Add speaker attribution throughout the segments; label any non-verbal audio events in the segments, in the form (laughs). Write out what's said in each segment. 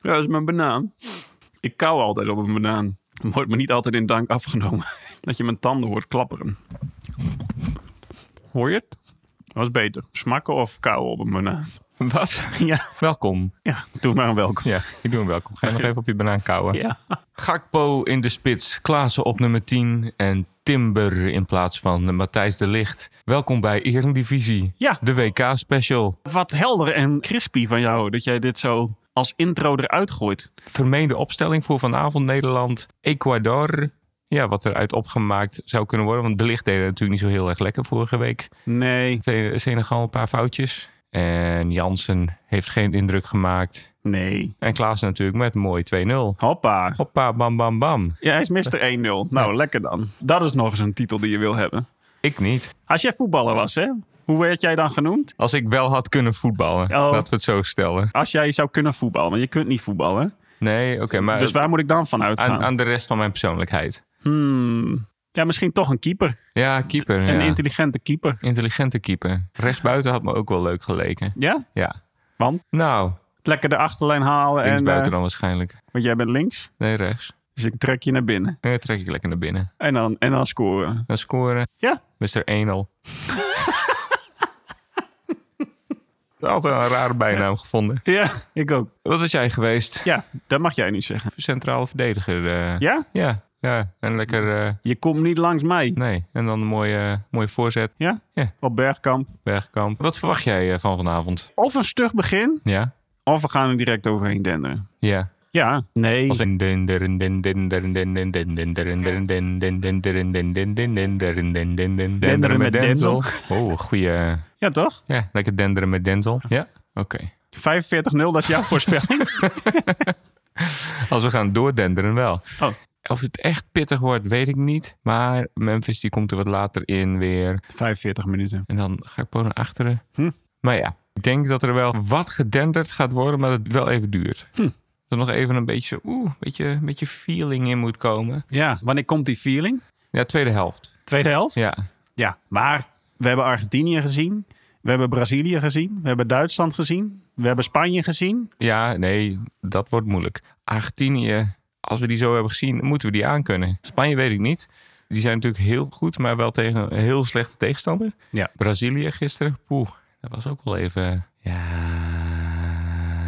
Speaker 1: Ja, dat is mijn banaan. Ik kauw altijd op een banaan. Wordt me niet altijd in dank afgenomen. (laughs) Dat je mijn tanden hoort klapperen. Hoor je het? Dat is beter. Smakken of kauwen op een banaan?
Speaker 2: (laughs) Wat?
Speaker 1: (laughs) Ja,
Speaker 2: Welkom.
Speaker 1: ja doe maar een welkom.
Speaker 2: Ja, ik doe hem welkom. (laughs) Ga je nog even op je banaan kauwen.
Speaker 1: Ja.
Speaker 2: Gakpo in de spits, Klaassen op nummer 10 en Timber in plaats van eh, Matthijs de Licht. Welkom bij Eredivisie,
Speaker 1: Ja.
Speaker 2: de WK-special.
Speaker 1: Wat helder en crispy van jou dat jij dit zo als intro eruit gooit.
Speaker 2: Vermeende opstelling voor vanavond Nederland, Ecuador. Ja, wat eruit opgemaakt zou kunnen worden, want de Licht deed het natuurlijk niet zo heel erg lekker vorige week.
Speaker 1: Nee,
Speaker 2: Tegen Senegal een paar foutjes. En Jansen heeft geen indruk gemaakt.
Speaker 1: nee.
Speaker 2: En Klaassen natuurlijk met mooi 2-0.
Speaker 1: Hoppa.
Speaker 2: Hoppa, bam, bam, bam.
Speaker 1: Ja, hij is (laughs) Mr. 1-0. Nou, lekker dan. Dat is nog eens een titel die je wil hebben.
Speaker 2: Ik niet.
Speaker 1: Als jij voetballer was, hè? Hoe werd jij dan genoemd?
Speaker 2: Als ik wel had kunnen voetballen,
Speaker 1: Oh.
Speaker 2: laten we het zo stellen.
Speaker 1: Als jij zou kunnen voetballen, want je kunt niet voetballen.
Speaker 2: Nee, oké, maar
Speaker 1: Dus waar moet ik dan van uitgaan?
Speaker 2: aan, aan de rest van mijn persoonlijkheid.
Speaker 1: Hmm. Ja, misschien toch een keeper.
Speaker 2: Ja, keeper.
Speaker 1: Een
Speaker 2: ja.
Speaker 1: intelligente keeper.
Speaker 2: Intelligente keeper. Rechtsbuiten had me ook wel leuk geleken.
Speaker 1: Ja?
Speaker 2: Ja.
Speaker 1: Want?
Speaker 2: Nou,
Speaker 1: Lekker de achterlijn halen en...
Speaker 2: linksbuiten
Speaker 1: eh,
Speaker 2: dan waarschijnlijk.
Speaker 1: want jij bent links,
Speaker 2: Nee, rechts.
Speaker 1: dus ik trek je naar binnen.
Speaker 2: En dan trek ik lekker naar binnen.
Speaker 1: En dan, en dan scoren.
Speaker 2: Dan scoren.
Speaker 1: Ja.
Speaker 2: Mr.
Speaker 1: (laughs)
Speaker 2: Enel. Altijd een rare bijnaam gevonden.
Speaker 1: Ja, ik ook.
Speaker 2: Wat was jij geweest?
Speaker 1: Ja, dat mag jij niet zeggen.
Speaker 2: Centraal verdediger. eh.
Speaker 1: Ja?
Speaker 2: Ja. Ja. En lekker... eh,
Speaker 1: Je komt niet langs mij.
Speaker 2: nee. En dan een mooie, mooie voorzet.
Speaker 1: Ja?
Speaker 2: Ja.
Speaker 1: Op Bergkamp.
Speaker 2: Bergkamp. Wat verwacht jij eh, van vanavond?
Speaker 1: Of een stug begin,
Speaker 2: Ja?
Speaker 1: of we gaan er direct overheen denderen.
Speaker 2: Ja.
Speaker 1: Ja, nee.
Speaker 2: Als in din, dirin, din, din, dirin, din, din, din, din, dirin, dirin, din, din, din, dirin, din, din, din, din, dirin, din, din, din,
Speaker 1: Denderen met Denzel.
Speaker 2: Oh, goeie.
Speaker 1: Ja, toch? 45-0,
Speaker 2: Ja, lekker denderen met Denzel. Ja, oké.
Speaker 1: dat
Speaker 2: (laughs)
Speaker 1: is jouw voorspelling.
Speaker 2: Als we gaan doordenderen wel.
Speaker 1: Oh.
Speaker 2: Of het echt pittig wordt, weet ik niet. Maar Memphis die komt er wat later in weer.
Speaker 1: 45 minuten.
Speaker 2: En dan ga ik gewoon naar achteren.
Speaker 1: Hm.
Speaker 2: Maar ja, ik denk dat er wel wat gedenderd gaat worden, maar dat het wel even duurt.
Speaker 1: Hm.
Speaker 2: Dat er nog even een beetje, oeh, een beetje, een beetje feeling in moet komen.
Speaker 1: Ja, wanneer komt die feeling?
Speaker 2: Ja, tweede helft.
Speaker 1: Tweede helft?
Speaker 2: Ja.
Speaker 1: Ja, maar we hebben Argentinië gezien. We hebben Brazilië gezien. We hebben Duitsland gezien. We hebben Spanje gezien.
Speaker 2: Ja, nee, dat wordt moeilijk. Argentinië, als we die zo hebben gezien, moeten we die aankunnen. Spanje weet ik niet. Die zijn natuurlijk heel goed, maar wel tegen een heel slechte tegenstander.
Speaker 1: Ja.
Speaker 2: Brazilië gisteren, poeh, dat was ook wel even... Ja...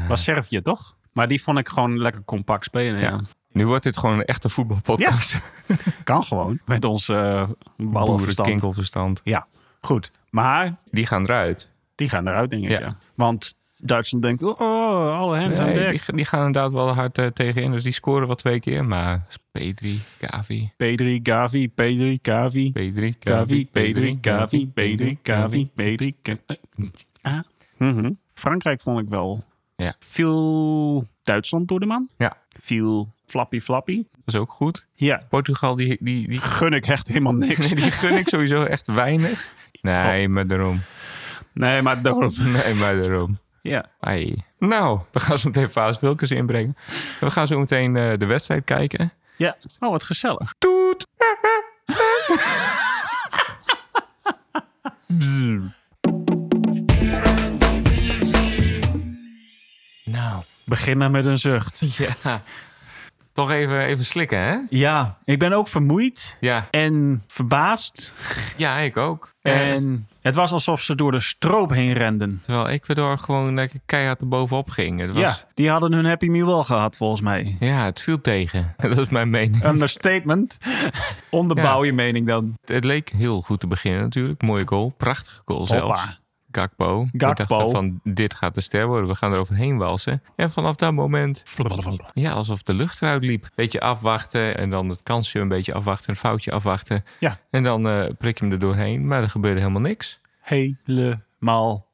Speaker 1: Was Servië, toch? Maar die vond ik gewoon lekker compact spelen. Ja.
Speaker 2: Nu wordt dit gewoon een echte voetbalpodcast.
Speaker 1: (laughs) Kan gewoon. Met ons eh ballenverstand.
Speaker 2: Kinkelverstand.
Speaker 1: Ja, goed. Maar
Speaker 2: Die gaan eruit.
Speaker 1: die gaan eruit, denk ik. Ja.
Speaker 2: Ja.
Speaker 1: Want Duitsland denkt, oh, oh, alle hands aan
Speaker 2: Nee,
Speaker 1: dek.
Speaker 2: die, die gaan inderdaad wel hard eh, tegenin, dus die scoren wel twee keer. Maar P3, Gavi,
Speaker 1: P3, Gavi, P3, Gavi.
Speaker 2: P3,
Speaker 1: Gavi,
Speaker 2: Gavi,
Speaker 1: P3, Gavi, P3, Gavi, P3, Ah. Mhm. Frankrijk vond ik wel.
Speaker 2: Ja.
Speaker 1: Viel Duitsland door de man.
Speaker 2: Ja,
Speaker 1: Viel Flappy Flappy.
Speaker 2: dat is ook goed.
Speaker 1: Ja.
Speaker 2: Portugal, die, die, die,
Speaker 1: Gun ik echt (laughs) helemaal niks.
Speaker 2: (laughs) die gun ik sowieso echt weinig. Nee, maar daarom.
Speaker 1: Nee, maar daarom.
Speaker 2: Nee, maar daarom.
Speaker 1: Ja.
Speaker 2: Ai. Nou, we gaan zo meteen Vaas Wilkens inbrengen. We gaan zo meteen eh, de wedstrijd kijken.
Speaker 1: ja. Oh, wat gezellig.
Speaker 2: Toet! nou,
Speaker 1: Begin maar met een zucht.
Speaker 2: ja. Toch even, even slikken, hè?
Speaker 1: Ja, ik ben ook vermoeid
Speaker 2: Ja,
Speaker 1: en verbaasd.
Speaker 2: ja ik ook. Eh,
Speaker 1: En het was alsof ze door de stroop heen renden.
Speaker 2: terwijl Ecuador gewoon lekker keihard erbovenop ging. Het was,
Speaker 1: Ja, die hadden hun Happy Meal wel gehad, volgens mij.
Speaker 2: Ja, het viel tegen. (laughs) Dat is mijn mening.
Speaker 1: (laughs) Understatement. Onderbouw je mening dan.
Speaker 2: Het leek heel goed te beginnen natuurlijk. Mooie goal. Prachtige goal zelfs.
Speaker 1: Hoppa.
Speaker 2: Gakpo. Ik dacht
Speaker 1: Gakpo.
Speaker 2: van, dit gaat de ster worden. We gaan er overheen walsen. En vanaf dat moment, ja, alsof de lucht eruit liep. Beetje afwachten en dan het kansje een beetje afwachten. Een foutje afwachten.
Speaker 1: Ja.
Speaker 2: En dan eh, prik je hem er doorheen. Maar er gebeurde helemaal niks.
Speaker 1: Helemaal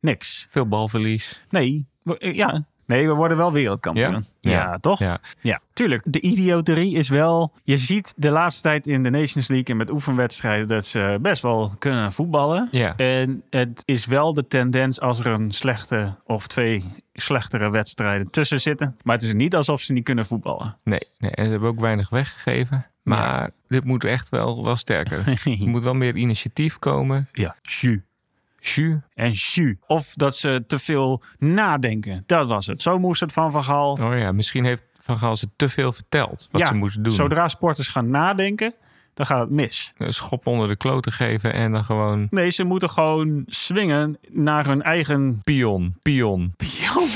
Speaker 1: niks.
Speaker 2: Veel balverlies.
Speaker 1: Nee, we- ja. Nee, we worden wel wereldkampioen. Ja,
Speaker 2: Ja?
Speaker 1: toch? Ja.
Speaker 2: Ja.
Speaker 1: tuurlijk. De idioterie is wel... Je ziet de laatste tijd in de Nations League en met oefenwedstrijden... dat ze best wel kunnen voetballen.
Speaker 2: Ja.
Speaker 1: En het is wel de tendens als er een slechte of twee slechtere wedstrijden tussen zitten. Maar het is niet alsof ze niet kunnen voetballen.
Speaker 2: Nee, nee. En ze hebben ook weinig weggegeven. Maar
Speaker 1: (laughs)
Speaker 2: dit moet echt wel, wel sterker. er moet wel meer initiatief komen.
Speaker 1: Ja, jus.
Speaker 2: Jus.
Speaker 1: en jus. Of dat ze te veel nadenken. Dat was het. Zo moest het van Van Gaal.
Speaker 2: Oh ja, misschien heeft Van Gaal ze te veel verteld wat
Speaker 1: Ja,
Speaker 2: ze moesten doen.
Speaker 1: Zodra sporters gaan nadenken, dan gaat het mis.
Speaker 2: Een schop onder de kloten geven en dan gewoon
Speaker 1: Nee, ze moeten gewoon swingen naar hun eigen
Speaker 2: pion, pion.
Speaker 1: pion.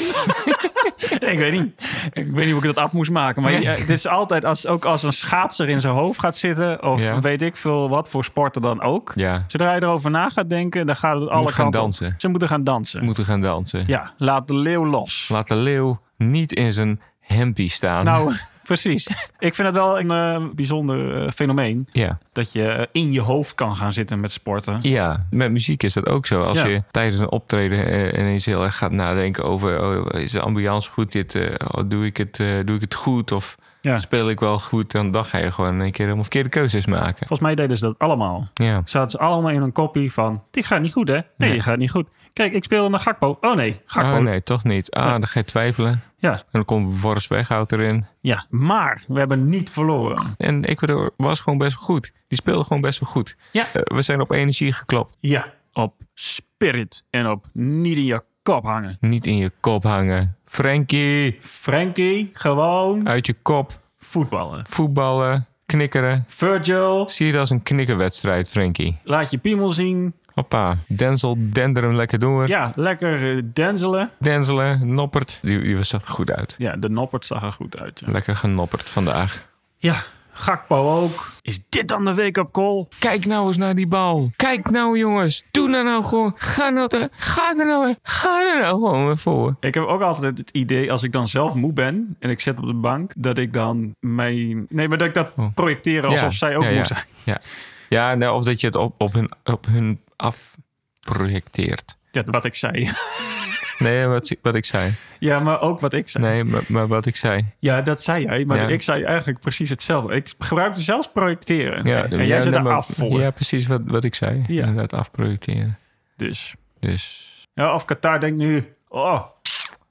Speaker 1: ik weet niet. Ik weet niet hoe ik dat af moest maken. Maar ja, dit is altijd, als, ook als een schaatser in zijn hoofd gaat zitten... of
Speaker 2: Ja.
Speaker 1: weet ik veel wat voor sporten dan ook.
Speaker 2: Ja,
Speaker 1: Zodra je erover na gaat denken, dan gaat het alle
Speaker 2: gaan
Speaker 1: kanten op.
Speaker 2: dansen.
Speaker 1: Ze moeten gaan dansen.
Speaker 2: moeten gaan dansen.
Speaker 1: Ja, laat de leeuw los.
Speaker 2: Laat de leeuw niet in zijn hempie staan.
Speaker 1: Nou, (laughs) precies. Ik vind het wel een eh, bijzonder eh, fenomeen.
Speaker 2: Ja.
Speaker 1: Dat je eh, in je hoofd kan gaan zitten met sporten.
Speaker 2: ja, met muziek is dat ook zo. Als
Speaker 1: Ja.
Speaker 2: je tijdens een optreden eh, ineens heel erg gaat nadenken over... Oh, is de ambiance goed? Dit, eh, oh, doe, ik het, eh, doe ik het goed? Of
Speaker 1: Ja.
Speaker 2: speel ik wel goed? Dan, dan ga je gewoon in een keer helemaal verkeerde keuzes maken.
Speaker 1: Volgens mij deden ze dat allemaal.
Speaker 2: Ja.
Speaker 1: Zaten ze allemaal in een kopie van... Dit gaat niet goed, hè? Nee, dit gaat niet goed. Kijk, ik speel naar Gakpo. Oh nee, Gakpo.
Speaker 2: Ah, nee, toch niet. Ah, dan ga je twijfelen. En
Speaker 1: Ja,
Speaker 2: dan komt Boris Weghout erin.
Speaker 1: ja, maar we hebben niet verloren.
Speaker 2: En Ecuador was gewoon best wel goed. Die speelde gewoon best wel goed.
Speaker 1: Ja.
Speaker 2: Eh, we zijn op energie geklopt.
Speaker 1: Ja, op spirit en op niet in je kop hangen.
Speaker 2: Niet in je kop hangen. Frankie,
Speaker 1: Frankie, gewoon
Speaker 2: uit je kop.
Speaker 1: voetballen.
Speaker 2: Voetballen, knikkeren.
Speaker 1: Virgil,
Speaker 2: Zie je het als een knikkerwedstrijd, Frankie?
Speaker 1: laat je piemel zien.
Speaker 2: Hoppa, Denzel, dender hem lekker door.
Speaker 1: Ja, lekker eh, denzelen.
Speaker 2: Denzelen, noppert. Die, die zag er goed uit.
Speaker 1: Ja, de noppert zag er goed uit. Ja.
Speaker 2: Lekker genopperd vandaag.
Speaker 1: Ja, Gakpo ook. Is dit dan de wake-up call?
Speaker 2: Kijk nou eens naar die bal. Kijk nou jongens. Doe nou nou gewoon. Ga nou, te- ga er nou, ga er nou gewoon weer voor.
Speaker 1: Ik heb ook altijd het idee, als ik dan zelf moe ben en ik zit op de bank, dat ik dan mijn... Nee, maar dat ik dat projecteer alsof zij ook
Speaker 2: ja,
Speaker 1: moe
Speaker 2: ja.
Speaker 1: zijn.
Speaker 2: Ja, ja nou, of dat je het op, op, hun, op hun af projecteert.
Speaker 1: Ja, wat ik zei. (laughs)
Speaker 2: Nee, wat, wat ik zei.
Speaker 1: Ja, maar ook wat ik zei.
Speaker 2: Nee, maar, maar wat ik zei.
Speaker 1: Ja, dat zei jij, maar
Speaker 2: Ja.
Speaker 1: ik zei eigenlijk precies hetzelfde. Ik gebruikte zelfs projecteren.
Speaker 2: Ja,
Speaker 1: en jij zit
Speaker 2: nee,
Speaker 1: er
Speaker 2: maar-
Speaker 1: af voor.
Speaker 2: Ja, precies wat, wat ik zei.
Speaker 1: Ja.
Speaker 2: Inderdaad, afprojecteren.
Speaker 1: Dus.
Speaker 2: Dus
Speaker 1: Ja, of Qatar denkt nu, oh,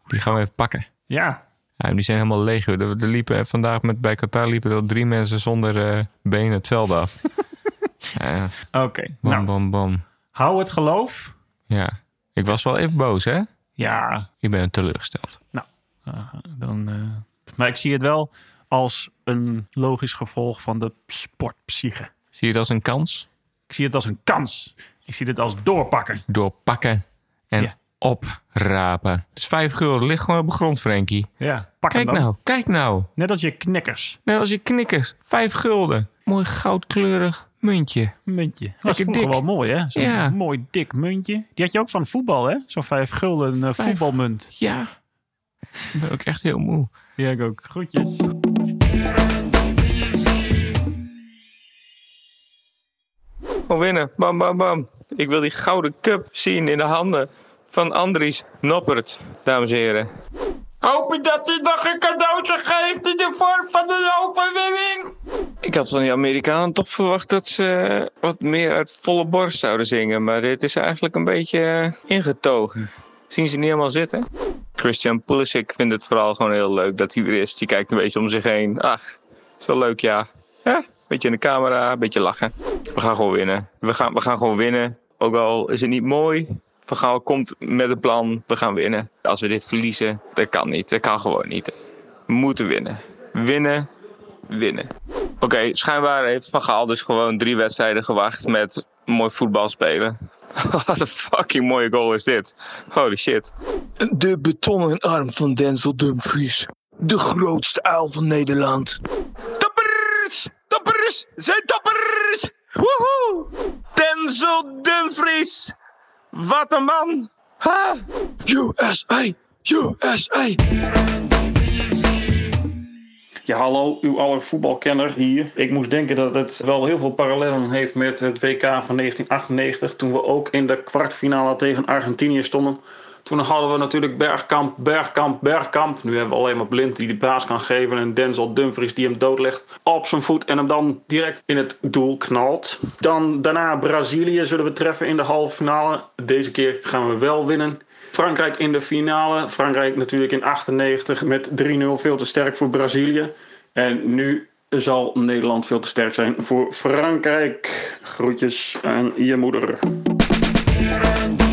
Speaker 2: die gaan we even pakken.
Speaker 1: ja,
Speaker 2: Ja, die zijn helemaal leeg. joh. Er, er liepen vandaag met, bij Qatar liepen er al drie mensen zonder eh, benen het veld
Speaker 1: (laughs)
Speaker 2: af. ja,
Speaker 1: oké.
Speaker 2: bam,
Speaker 1: Nou,
Speaker 2: bam, bam.
Speaker 1: hou het geloof.
Speaker 2: Ja. Ik was wel even boos, hè?
Speaker 1: Ja,
Speaker 2: Ik ben teleurgesteld.
Speaker 1: Ah, dan, eh, maar ik zie het wel als een logisch gevolg van de sportpsyche.
Speaker 2: Zie je dat als een kans?
Speaker 1: Ik zie het als een kans. Ik zie dit als doorpakken.
Speaker 2: door pakken en
Speaker 1: Ja.
Speaker 2: oprapen. Dus vijf gulden ligt gewoon op de grond, Frankie.
Speaker 1: Ja, pak
Speaker 2: Kijk
Speaker 1: hem dan.
Speaker 2: nou, kijk nou.
Speaker 1: Net als je knikkers.
Speaker 2: Net als je knikkers, vijf gulden. Mooi goudkleurig muntje.
Speaker 1: Muntje. Dat was
Speaker 2: Lekker
Speaker 1: vroeger
Speaker 2: dik.
Speaker 1: wel mooi, hè? Zo'n
Speaker 2: Ja.
Speaker 1: mooi dik muntje. Die had je ook van voetbal, hè? Zo'n vijf gulden eh,
Speaker 2: Vijf.
Speaker 1: voetbalmunt.
Speaker 2: Ja. Ik ben ook echt heel moe.
Speaker 1: Die heb ik ook. Groetjes.
Speaker 2: Gewoon winnen. Bam, bam, bam. Ik wil die gouden cup zien in de handen van Andries Noppert, dames en heren. Hoop ik dat hij nog een cadeautje geeft in de vorm van een overwinning. Ik had van die Amerikanen toch verwacht dat ze eh, wat meer uit volle borst zouden zingen. Maar dit is eigenlijk een beetje eh, ingetogen. Zien ze niet helemaal zitten. Christian Pulisic vindt het vooral gewoon heel leuk dat hij er is. Die kijkt een beetje om zich heen. Ach, is wel leuk ja. Ja, beetje in de camera, beetje lachen. We gaan gewoon winnen. We gaan, we gaan gewoon winnen. Ook al is het niet mooi. Van Gaal komt met een plan. We gaan winnen. Als we dit verliezen, dat kan niet. Dat kan gewoon niet. We moeten winnen. Winnen. Winnen. Oké, schijnbaar heeft Van Gaal dus gewoon drie wedstrijden gewacht met mooi voetbal spelen. (laughs) Wat een fucking mooie goal is dit. Holy shit.
Speaker 3: De betonnen arm van Denzel Dumfries. De grootste uil van Nederland.
Speaker 2: Toppers! Toppers! Zijn toppers! Woehoe! Denzel Dumfries! Wat een man! Ha!
Speaker 3: USA! USA!
Speaker 1: Ja, hallo, uw aller voetbalkenner hier. Ik moest denken dat het wel heel veel parallellen heeft met het WK van 1998. Toen we ook in de kwartfinale tegen Argentinië stonden. Toen hadden we natuurlijk Bergkamp, Bergkamp, Bergkamp. Nu hebben we alleen maar Blind die de baas kan geven. En Denzel Dumfries die hem doodlegt op zijn voet. En hem dan direct in het doel knalt. Dan daarna Brazilië zullen we treffen in de halve finale. Deze keer gaan we wel winnen. Frankrijk in de finale. Frankrijk natuurlijk in 98 met 3-0 veel te sterk voor Brazilië. En nu zal Nederland veel te sterk zijn voor Frankrijk. Groetjes aan je moeder.
Speaker 4: Eredivisie.